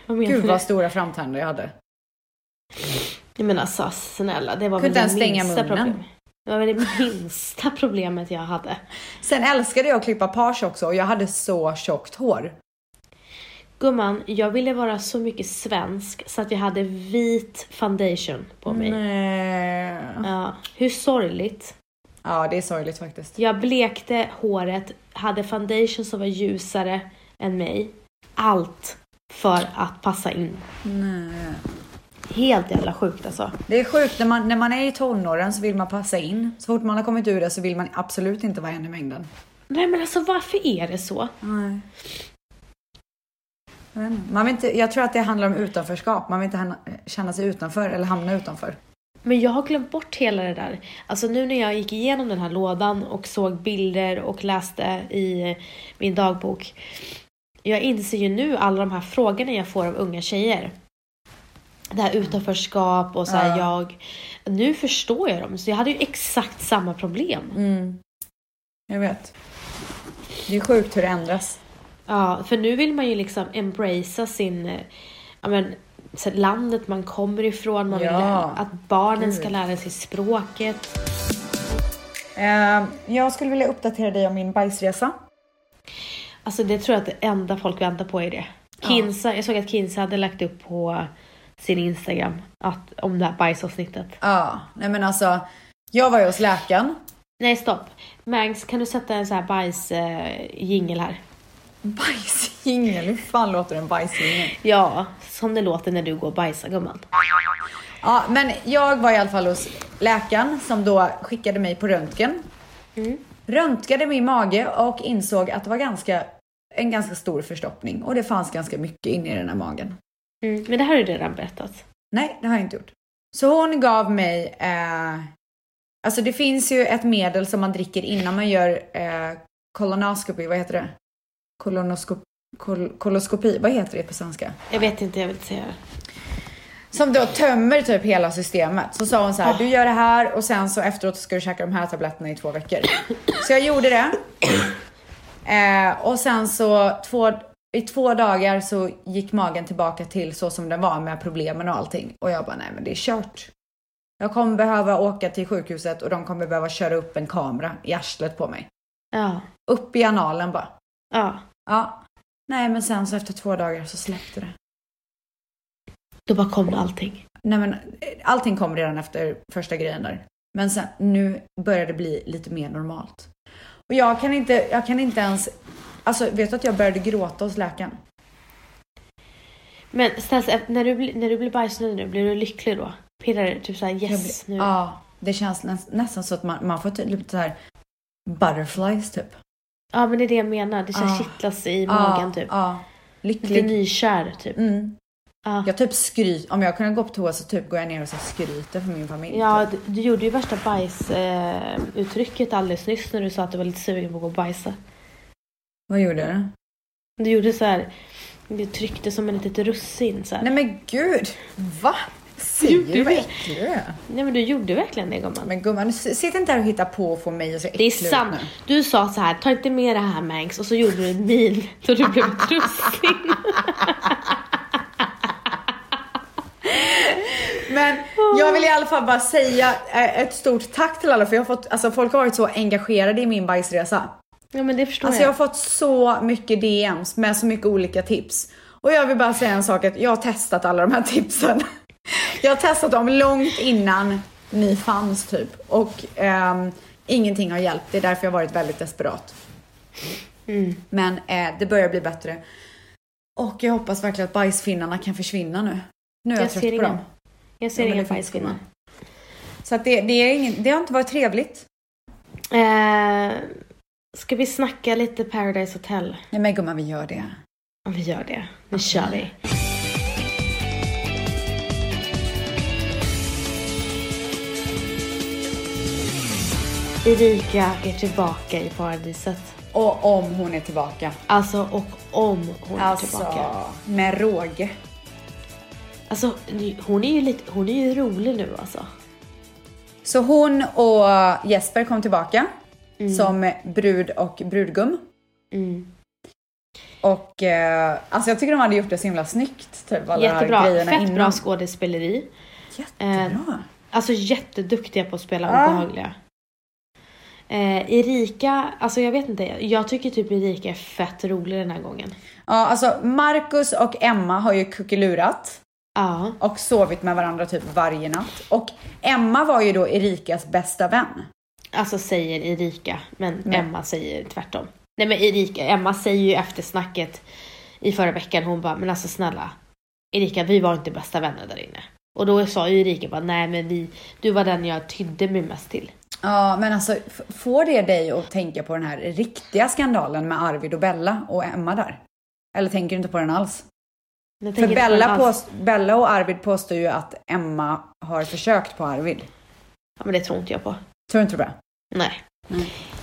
S2: Vad menar
S1: Gud
S2: du?
S1: vad stora framtänder jag hade.
S2: Jag menar alltså, snälla, det var
S1: Kunde
S2: väl
S1: ens
S2: det
S1: stänga
S2: minsta
S1: munnen.
S2: problemet. Det var väl det minsta problemet jag hade.
S1: Sen älskade jag att klippa page också och jag hade så tjockt hår.
S2: Gumman, jag ville vara så mycket svensk så att jag hade vit foundation på mig.
S1: Nej.
S2: Ja. Hur sorgligt.
S1: Ja det är sorgligt faktiskt.
S2: Jag blekte håret, hade foundation som var ljusare än mig. Allt för att passa in.
S1: Nej.
S2: Helt jävla sjukt alltså.
S1: eh, Det är sjukt, när man, när man är i tonåren så vill man passa in. Så fort man har kommit ur det så vill man absolut inte vara en i mängden.
S2: Nej men alltså varför är det så?
S1: Nej. Jag, vet inte. man vill inte, jag tror att det handlar om utanförskap. Man vill inte hamna, känna sig utanför eller hamna utanför.
S2: Men jag har glömt bort hela det där. Alltså nu när jag gick igenom den här lådan och såg bilder och läste i min dagbok. Jag inser ju nu alla de här frågorna jag får av unga tjejer. Det här utanförskap och så här jag. Nu förstår jag dem. Så jag hade ju exakt samma problem.
S1: Mm. Jag vet. Det är sjukt hur det ändras.
S2: Ja, för nu vill man ju liksom embracea sin, eh, ja men, så landet man kommer ifrån. Man vill
S1: Ja.
S2: lä- att barnen ska lära sig språket.
S1: Eh, jag skulle vilja uppdatera dig om min bajsresa.
S2: Alltså det tror jag att det enda folk väntar på är det. Kinsa, Jag såg att Kinsa hade lagt upp på sin Instagram att, om det här bajsavsnittet.
S1: Ja, nej men alltså. Jag var ju hos läkaren.
S2: Nej stopp! Mangs, kan du sätta en sån här bajsjingel här?
S1: Bajsjingel, hur fan låter en bajsjingel?
S2: Ja, som det låter när du går och bajsar gumman.
S1: Ja, men jag var i alla fall hos läkaren som då skickade mig på röntgen. Röntgade min mage och insåg att det var ganska, en ganska stor förstoppning och det fanns ganska mycket inne i den här magen.
S2: Mm. Men det här har du redan berättat.
S1: Nej, det har jag inte gjort. Så hon gav mig, eh, alltså det finns ju ett medel som man dricker innan man gör eh, kolonoskopi, vad heter det? Kolonoskop, kol, koloskopi, vad heter det på svenska?
S2: Jag vet inte, jag vill inte säga det.
S1: Som då tömmer typ hela systemet. Så sa hon så här, du gör det här och sen så efteråt ska du käka de här tabletterna i två veckor. Så jag gjorde det. Eh, och sen så två, i två dagar så gick magen tillbaka till så som den var med problemen och allting. Och jag bara, nej men det är kört. Jag kommer behöva åka till sjukhuset och de kommer behöva köra upp en kamera i arslet på mig.
S2: Ja.
S1: Upp i analen bara.
S2: ja.
S1: Ja. Nej men sen så efter två dagar så släppte det.
S2: Då bara kom allting.
S1: Nej men eh, allting kom redan efter första grejen där. Men sen, nu börjar det bli lite mer normalt. Och jag kan inte, jag kan inte ens, alltså vet du att jag började gråta hos läkaren?
S2: Men Stas, när du, blir- när du blir bajsnödig nu, blir du lycklig då? Pirrar det? Typ såhär
S1: Jag
S2: yes
S1: blir-
S2: nu?
S1: Ja, det känns nä, nästan så att man, man får typ lite så här butterflies typ.
S2: Ja men det är det jag menar. Det
S1: Ja.
S2: känns kittlas i magen typ.
S1: Ja,
S2: Lite
S1: lycklig.
S2: nykär typ.
S1: Mm.
S2: Ja.
S1: Jag typ skryter, om jag kunde gå på toa så typ går jag ner och så skryter för min familj.
S2: Ja,
S1: typ.
S2: du, du gjorde ju värsta bajsuttrycket eh, uttrycket alldeles nyss när du sa att du var lite sugen på att gå och bajsa.
S1: Vad gjorde du?
S2: Du gjorde så här. Du tryckte som ett litet russin så här. Nej.
S1: Nej men gud, va?
S2: Gjorde
S1: Säger du
S2: du
S1: vad
S2: det?
S1: äcklig du är?
S2: men du gjorde verkligen det gumman.
S1: Men gumman, nu s- sitt inte här och hitta på och få mig att se
S2: det är
S1: äcklig ut
S2: sant.
S1: nu.
S2: Du sa så här, ta inte med det här Mangs och så gjorde du en min [laughs] så du blev
S1: [laughs]
S2: ett russin.
S1: Men jag vill i alla fall bara säga eh, ett stort tack till alla för jag har fått, alltså folk har varit så engagerade i min bajsresa.
S2: Ja men det förstår
S1: Alltså jag
S2: jag.
S1: har fått så mycket DMs med så mycket olika tips. Och jag vill bara säga en sak att jag har testat alla de här tipsen. [laughs] Jag har testat dem långt innan ni fanns typ. Och ehm, ingenting har hjälpt, det är därför jag har varit väldigt desperat.
S2: Mm.
S1: Men eh, det börjar bli bättre. Och jag hoppas verkligen att bajsfinnarna kan försvinna nu. Nu är jag,
S2: Jag ser
S1: trött på
S2: inga.
S1: dem.
S2: Jag ser
S1: Ja, men
S2: inga
S1: det finns
S2: bajsfinnar.
S1: Så att det, det, är ingen, det har inte varit trevligt.
S2: Eh, ska vi snacka lite Paradise Hotel?
S1: Nej men gumman, vi gör det.
S2: Om vi gör det. Nu kör vi. Erika är tillbaka i paradiset.
S1: Och om hon är tillbaka.
S2: Alltså, och om hon är tillbaka.
S1: Alltså, med råge.
S2: Alltså, hon är ju, lite, hon är ju rolig nu alltså.
S1: Så hon och Jesper kom tillbaka som brud och brudgum.
S2: Mm.
S1: Och eh, alltså jag tycker de hade gjort det så himla snyggt. Typ, alla
S2: Jättebra.
S1: grejerna
S2: Fett
S1: innan.
S2: bra skådespeleri.
S1: Jättebra.
S2: Alltså jätteduktiga på att spela
S1: Ja.
S2: obehagliga. Eh, Erika, alltså jag vet inte. Jag tycker typ Erika är fett rolig den här gången.
S1: Ja, alltså Marcus och Emma har ju kuckelurat
S2: Ja,
S1: och sovit med varandra typ varje natt. Och Emma var ju då Erikas bästa vän.
S2: alltså säger Erika, men Emma säger tvärtom. Nej men Erika, Emma säger ju efter snacket i förra veckan, hon bara, men alltså snälla. Erika, vi var inte bästa vänner där inne. Och då sa ju Erika bara, nej men vi, du var den jag tydde mig mest till.
S1: Ja, men alltså f- får det dig att tänka på den här riktiga skandalen med Arvid och Bella och Emma där? Eller tänker du inte på den alls?
S2: Jag
S1: För
S2: tänker inte på
S1: Bella,
S2: den alls.
S1: påst- Bella och Arvid påstår ju att Emma har försökt på Arvid.
S2: Ja men det tror inte jag på.
S1: Tror du inte det?
S2: Nej.
S1: Nej.
S2: Mm. [clears throat]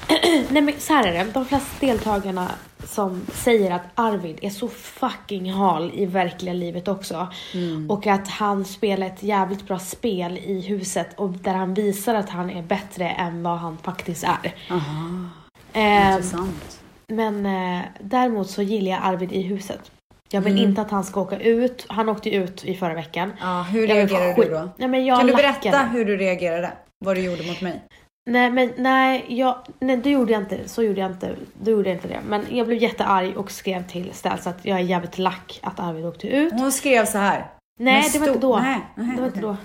S2: Nej men så här är det. De flesta deltagarna som säger att Arvid är så fucking hal i verkliga livet också.
S1: Mm.
S2: Och att han spelar ett jävligt bra spel i huset och där han visar att han är bättre än vad han faktiskt är.
S1: Aha,
S2: Ehm,
S1: intressant.
S2: men eh, däremot så gillar jag Arvid i huset. Jag vill
S1: Mm.
S2: inte att han ska åka ut. Han åkte ju ut i förra veckan.
S1: Ja, hur
S2: jag vill
S1: reagerar
S2: skit-
S1: du då?
S2: Nej, men jag
S1: kan du
S2: lackade.
S1: berätta hur du reagerade? Vad du gjorde mot mig?
S2: Nej, men nej, jag, nej, det gjorde jag inte. Så gjorde jag inte. Då gjorde jag inte det. Men jag blev jättearg och skrev till Ställs att jag är jävligt lack att Arvid åkte ut.
S1: Hon skrev så här.
S2: Nej,
S1: med
S2: det var inte
S1: stor-
S2: då.
S1: Nej, nej,
S2: Det var inte
S1: okej.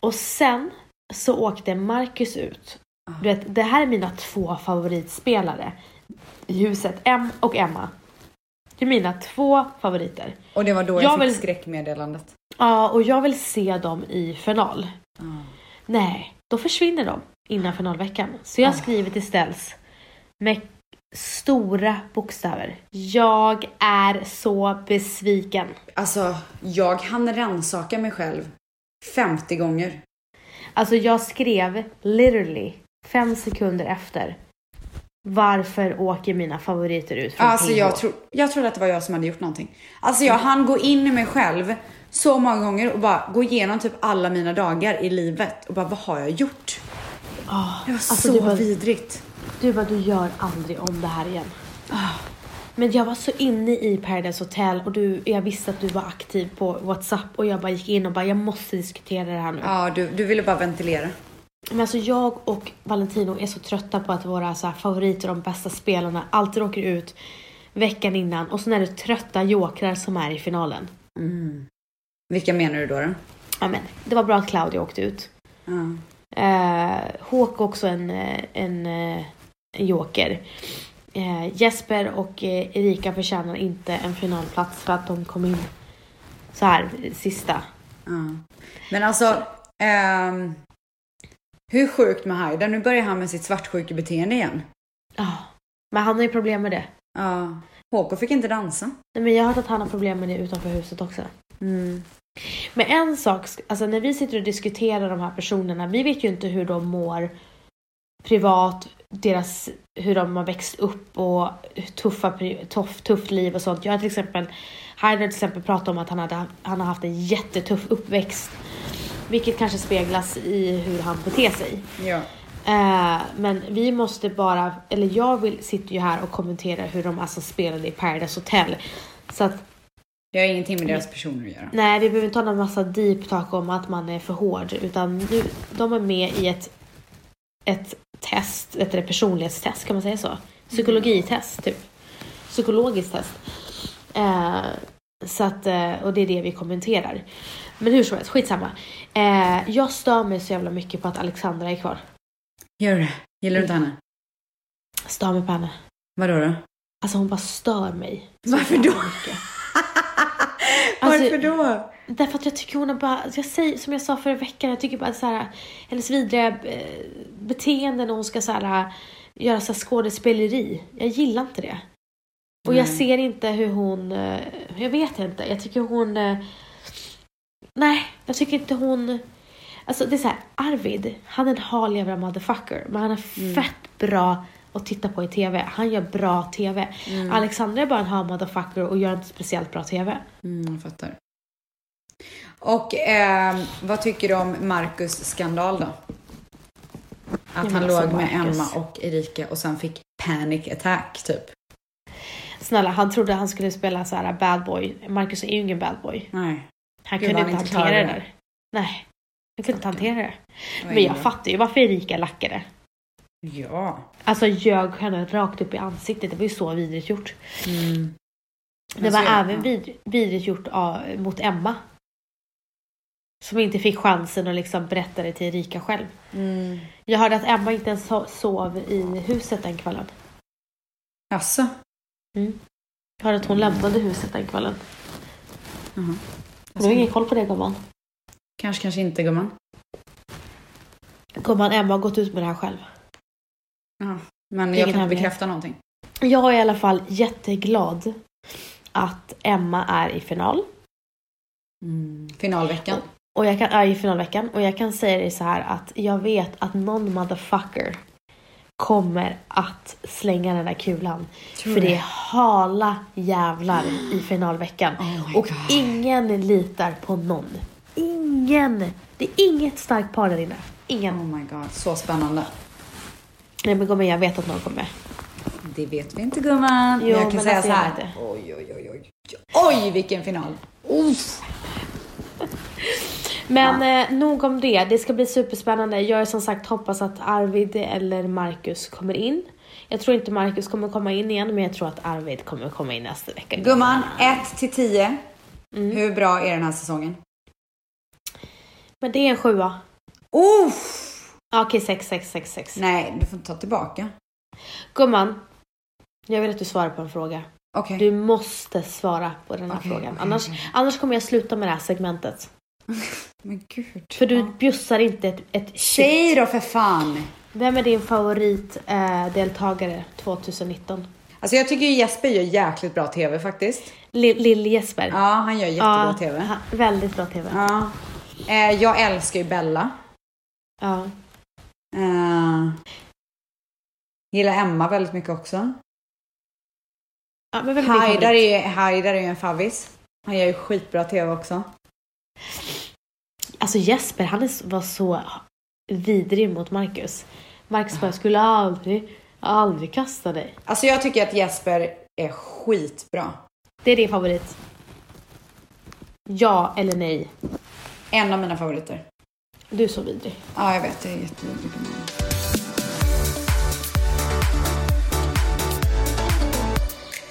S2: då. Och sen så åkte Marcus ut.
S1: Ah.
S2: Du vet, det här är mina två favoritspelare i huset. Em och Emma. Det är mina två favoriter.
S1: Och det var då jag,
S2: Jag
S1: fick
S2: vill-
S1: skräckmeddelandet.
S2: Ja, och jag vill se dem i final. Nej, då försvinner de innan finalveckan. Så
S1: Ah.
S2: jag skriver till Ställs med stora bokstäver. Jag är så besviken.
S1: Alltså, jag hann rannsaka mig själv 50 gånger.
S2: Alltså jag skrev literally fem sekunder efter. Varför åker mina favoriter ut från
S1: Alltså
S2: PH?
S1: jag, tro, jag trodde att det var jag som hade gjort någonting. Alltså jag hann gå in i mig själv så många gånger och bara gå igenom typ alla mina dagar i livet och bara vad har jag gjort? Ah, det var
S2: alltså,
S1: så
S2: det var-
S1: vidrigt.
S2: Du bara, du gör aldrig om det här igen.
S1: Ah.
S2: Men jag var så inne i Paradise Hotel och du, jag visste att du var aktiv på WhatsApp och jag bara gick in och bara, jag måste diskutera det här nu.
S1: Ja, du, du ville bara ventilera.
S2: Men alltså jag och Valentino är så trötta på att våra så här favoriter, de bästa spelarna, alltid åker ut veckan innan och sen är det trötta jokrar som är i finalen.
S1: Mm. Vilka menar du då? då?
S2: Ja men, det var bra att Claudia åkte ut.
S1: Ja.
S2: Eh, Håk också en, eh, en, eh, en joker. Eh, Jesper och eh, Erika förtjänar inte en finalplats för att de kom in så här sista.
S1: Ja. Men alltså, ehm, hur sjukt med Haida? Nu börjar han med sitt svartsjukebeteende igen.
S2: Ja, Ah. Men han har ju problem med det.
S1: Ja. HK fick inte dansa.
S2: Nej, men jag har hört att han har problem med det utanför huset också.
S1: Mm.
S2: Men en sak, sk- alltså när vi sitter och diskuterar de här personerna, vi vet ju inte hur de mår privat, deras, hur de har växt upp och tuffa, pri- tuff, tufft liv och sånt. Jag har till exempel, Heider till exempel pratat om att han, hade, han har haft en jättetuff uppväxt. Vilket kanske speglas i hur han beter sig.
S1: Ja.
S2: Eh, men vi måste bara, eller jag vill, sitter ju här och kommenterar hur de alltså spelade i Paradise Hotel. Så att
S1: Det har ingenting med deras personer att göra.
S2: Nej, vi behöver inte ha någon massa deep talk om att man är för hård. Utan nu, de är med i ett, ett test, ett ett personlighetstest, kan man säga så? Psykologitest, typ. Psykologiskt test. Eh, så att, eh, och det är det vi kommenterar. Men hur som helst, skitsamma. Eh, jag stör mig så jävla mycket på att Alexandra är kvar.
S1: Gör du det? Gillar du inte henne?
S2: Stör mig på henne.
S1: Vadå [laughs] då?
S2: Alltså hon bara stör mig. så
S1: Varför
S2: jävla
S1: då?
S2: mycket.
S1: Varför då?
S2: Därför att jag tycker hon har bara, alltså jag säger, som jag sa förra veckan, jag tycker bara att så här, hennes vidriga eh, beteende när hon ska så här, göra så här skådespeleri. Jag gillar inte det. Och jag
S1: Nej.
S2: ser inte hur hon, eh, jag vet inte, jag tycker hon, eh, nej, jag tycker inte hon, alltså det är så här, Arvid, han är en hal jävla motherfucker, men han är fett bra att titta på i TV. Han gör bra TV. Alexandra är bara en hal motherfucker och gör inte speciellt bra TV.
S1: Mm, jag fattar. Och ehm, vad tycker du om Marcus skandal då? Att
S2: men
S1: han
S2: alltså,
S1: låg med
S2: Marcus.
S1: Emma och Erika och sen fick panic attack typ.
S2: Snälla, han trodde han skulle spela så här bad boy. Marcus är ju ingen bad boy.
S1: Nej.
S2: Han
S1: Gud,
S2: kunde
S1: han
S2: inte
S1: inte
S2: hantera det
S1: klarade
S2: där. Nej, han kunde inte hantera det.
S1: det var
S2: Men
S1: ingen
S2: jag
S1: bra.
S2: fattar ju varför Erika lackade.
S1: Ja.
S2: Alltså ljög henne rakt upp i ansiktet. Det var ju så vidrigt gjort.
S1: Mm.
S2: Det
S1: Men
S2: var
S1: så är det.
S2: även vid, vidrigt gjort av, mot Emma. Som inte fick chansen att liksom berätta det till Erika själv.
S1: Mm.
S2: Jag hörde att Emma inte ens so- sov i huset den kvällen.
S1: Jaså?
S2: Jag hörde att hon lämnade huset den kvällen.
S1: Jaha. Alltså-
S2: Du har ingen koll på det gumman.
S1: Kanske, kanske inte gumman.
S2: Gumman, Emma har gått ut med det här själv.
S1: Ja. Men
S2: Ingen
S1: jag kan inte
S2: hemlighet.
S1: bekräfta någonting.
S2: Jag är i alla fall jätteglad att Emma är i final.
S1: Mm. Finalveckan.
S2: Och jag kan, ja, i finalveckan. Och jag kan säga dig så här att jag vet att någon motherfucker kommer att slänga den där kulan.
S1: Tror
S2: För
S1: du
S2: det är hala jävlar
S1: [gasps]
S2: i finalveckan.
S1: Oh my
S2: och
S1: God.
S2: ingen litar på någon. Ingen! Det är inget starkt par där inne. Ingen.
S1: Oh my god, så spännande.
S2: Nej men gumman, jag vet att någon kommer.
S1: Det vet vi inte gumman.
S2: Jo,
S1: Men jag kan
S2: men
S1: säga
S2: alltså,
S1: så
S2: jag
S1: här.
S2: vet det.
S1: Oj, oj, oj, oj. Oj, vilken final. Uff.
S2: Men eh, nog om det. Det ska bli superspännande. Jag är som sagt hoppas att Arvid eller Marcus kommer in. Jag tror inte Marcus kommer komma in igen, men jag tror att Arvid kommer komma in nästa vecka.
S1: Gumman, 1 till 10.
S2: Mm.
S1: Hur bra är den här säsongen?
S2: Men det är en sjua.
S1: Uff.
S2: Ja, Okej, sex, sex, sex, sex.
S1: Nej, du får inte ta tillbaka.
S2: Gumman, jag vill att du svarar på en fråga.
S1: Okej.
S2: Du måste svara på den här
S1: Okej,
S2: frågan.
S1: okej,
S2: annars, annars kommer jag sluta med det här segmentet.
S1: Men gud.
S2: För du bjussar inte ett, ett shit.
S1: Säg då för fan.
S2: Vem är din favoritdeltagare eh, deltagare 2019?
S1: Alltså jag tycker ju Jesper gör jäkligt bra TV faktiskt.
S2: Lill- Lill-Jesper.
S1: Ja, han gör jättebra
S2: Ja,
S1: TV.
S2: ha- Väldigt bra TV.
S1: Ja. Eh, jag älskar ju Bella.
S2: Ja.
S1: Eh, gillar Emma väldigt mycket också.
S2: Ja, men vem är din
S1: Haidar
S2: favorit?
S1: är, Haidar är ju en favvis. Han gör ju skitbra TV också.
S2: Alltså Jesper, han är s- var så vidrig mot Marcus. Marcus bara, jag skulle aldrig, aldrig kasta dig.
S1: Alltså jag tycker att Jesper är skitbra.
S2: Det är din favorit. Ja eller nej.
S1: En av mina favoriter.
S2: Du är så vidrig.
S1: Ja, jag vet. Det är jättejobbigt.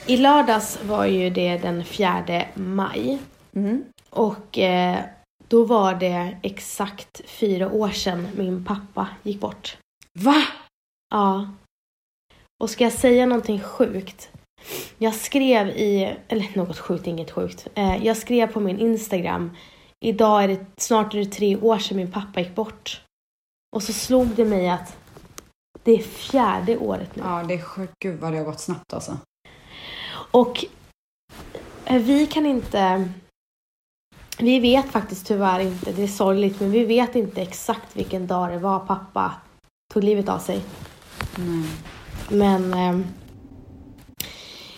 S2: I lördags var ju det den 4 maj.
S1: Mm.
S2: Och eh, då var det exakt fyra år sedan min pappa gick bort.
S1: Va?
S2: Ja. Och ska jag säga någonting sjukt? Jag skrev i, eller något sjukt, inget sjukt. Eh, jag skrev på min Instagram, idag är det snart är det tre år sedan min pappa gick bort. Och så slog det mig att det är fjärde året nu.
S1: Ja, det är sjukt. Gud vad det har gått snabbt alltså.
S2: Och eh, vi kan inte... Vi vet faktiskt tyvärr inte, det är sorgligt, men vi vet inte exakt vilken dag det var pappa tog livet av sig.
S1: Nej.
S2: Men ehm,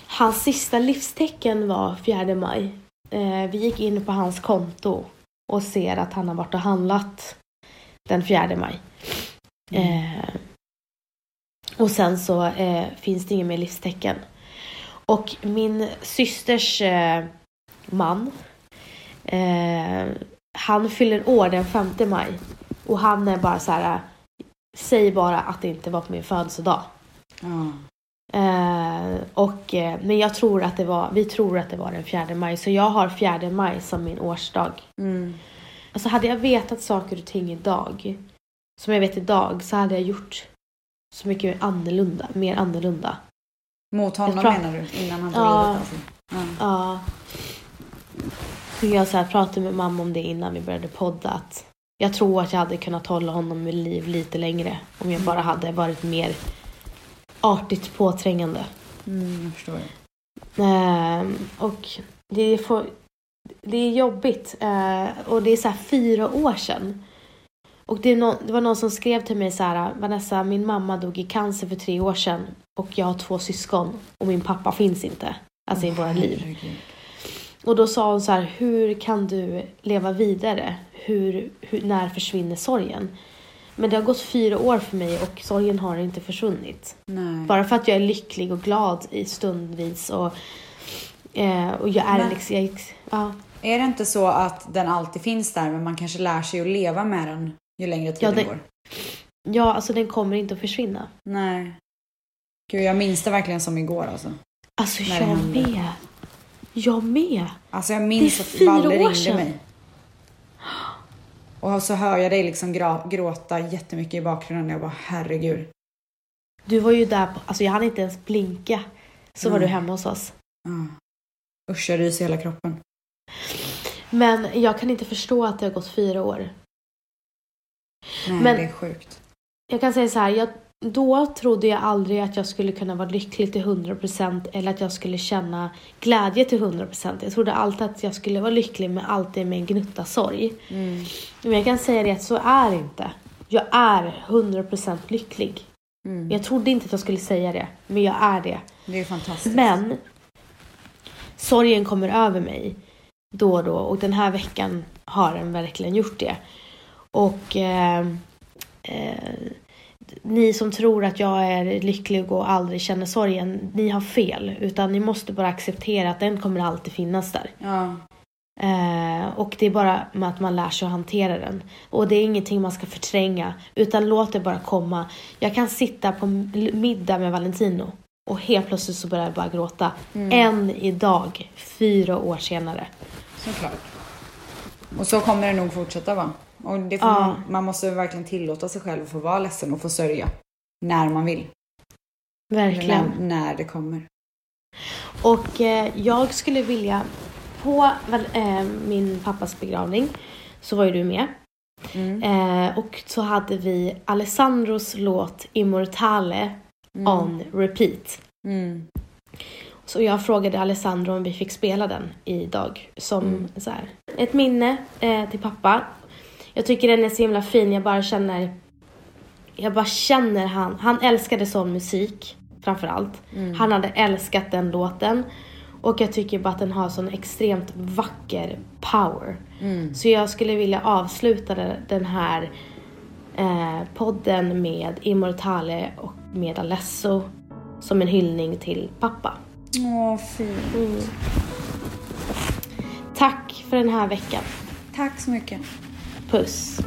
S2: hans sista livstecken var 4 maj. Eh, vi gick in på hans konto och ser att han har varit och handlat den 4 maj. Eh, och sen så eh, finns det inget mer livstecken. Och min systers eh, man, eh, han fyller år den 5 maj. Och han är bara så här, säg bara att det inte var på min födelsedag.
S1: Ja.
S2: Eh, och, eh, men jag tror att det var, vi tror att det var den 4 maj, så jag har 4 maj som min årsdag.
S1: Mm.
S2: Alltså hade jag vetat saker och ting idag, som jag vet idag, så hade jag gjort så mycket annorlunda, mer annorlunda.
S1: Mot honom
S2: Jag tror-
S1: menar du? Innan han tog
S2: Ja.
S1: livet av sig? Ja.
S2: Ja. Men jag så här pratade med mamma om det innan vi började podda, att jag tror att jag hade kunnat hålla honom i liv lite längre om jag bara hade varit mer artigt påträngande.
S1: Mm, jag förstår.
S2: Ehm, och det, får, det är jobbigt. eh, och det är så här fyra år sedan. Och det, är nå- det var någon som skrev till mig så här, Vanessa, min mamma dog i cancer för tre år sedan och jag har två syskon och min pappa finns inte. Alltså i våra liv.
S1: Herregud.
S2: Och då sa hon så här, hur kan du leva vidare? Hur, hur, när försvinner sorgen? Men det har gått fyra år för mig och sorgen har inte försvunnit.
S1: Nej.
S2: Bara för att jag är lycklig och glad i stundvis och, eh, och jag är
S1: Men-
S2: liksom... Jag, ja,
S1: Är det inte så att den alltid finns där men man kanske lär sig att leva med den ju längre
S2: Ja,
S1: tiden
S2: det-
S1: går?
S2: ja, alltså den kommer inte att försvinna.
S1: Nej. Gud, jag minns det verkligen som igår alltså.
S2: Alltså
S1: När det
S2: jag
S1: händer.
S2: med. Jag med.
S1: Alltså jag minns
S2: Det är
S1: att
S2: fyra
S1: Valle
S2: år
S1: ringde
S2: sedan.
S1: mig. Och så hör jag dig liksom gra- gråta jättemycket i bakgrunden och jag bara herregud.
S2: Du var ju där, på, alltså jag hann inte ens blinka. Så var
S1: Nej.
S2: du hemma hos oss.
S1: Ah. Usch, jag ryser i hela kroppen.
S2: Men jag kan inte förstå att det har gått fyra år.
S1: Nej,
S2: Men-
S1: det är sjukt.
S2: Jag kan säga så här, jag, då trodde jag aldrig att jag skulle kunna vara lycklig till 100% eller att jag skulle känna glädje till 100%. Jag trodde alltid att jag skulle vara lycklig men alltid med en gnutta sorg.
S1: Mm.
S2: Men jag kan säga det att så är det inte. Jag är 100% lycklig.
S1: Mm.
S2: Jag trodde inte att jag skulle säga det, men jag är det.
S1: Det är fantastiskt.
S2: Men sorgen kommer över mig då och då och den här veckan har den verkligen gjort det. Och eh, eh, ni som tror att jag är lycklig och aldrig känner sorgen, ni har fel. Utan ni måste bara acceptera att den kommer alltid finnas där.
S1: Ja.
S2: Eh, och det är bara med att man lär sig att hantera den. Och det är ingenting man ska förtränga, utan låt det bara komma. Jag kan sitta på m- middag med Valentino och helt plötsligt så börjar jag bara gråta. Än idag, fyra år senare.
S1: Såklart. Och så kommer det nog fortsätta va? Och det får
S2: Ja.
S1: man, man måste verkligen tillåta sig själv att få vara ledsen och få sörja. När man vill. Eller
S2: Verkligen.
S1: När, när det kommer.
S2: Och eh, jag skulle vilja, på väl, eh, min pappas begravning så var ju du med.
S1: Mm.
S2: Eh, och så hade vi Alessandros låt Immortale on repeat.
S1: Mm.
S2: Så jag frågade Alessandro om vi fick spela den idag som så här, ett minne eh, till pappa. Jag tycker den är så himla fin, jag bara känner jag bara känner han, han älskade sån musik framför allt. Han hade älskat den låten och jag tycker bara att den har sån extremt vacker power.
S1: Mm.
S2: Så jag skulle vilja avsluta de- den här eh, podden med Immortale och med Alesso som en hyllning till pappa.
S1: Åh, fint.
S2: Tack för den här veckan.
S1: Tack så mycket.
S2: Puss!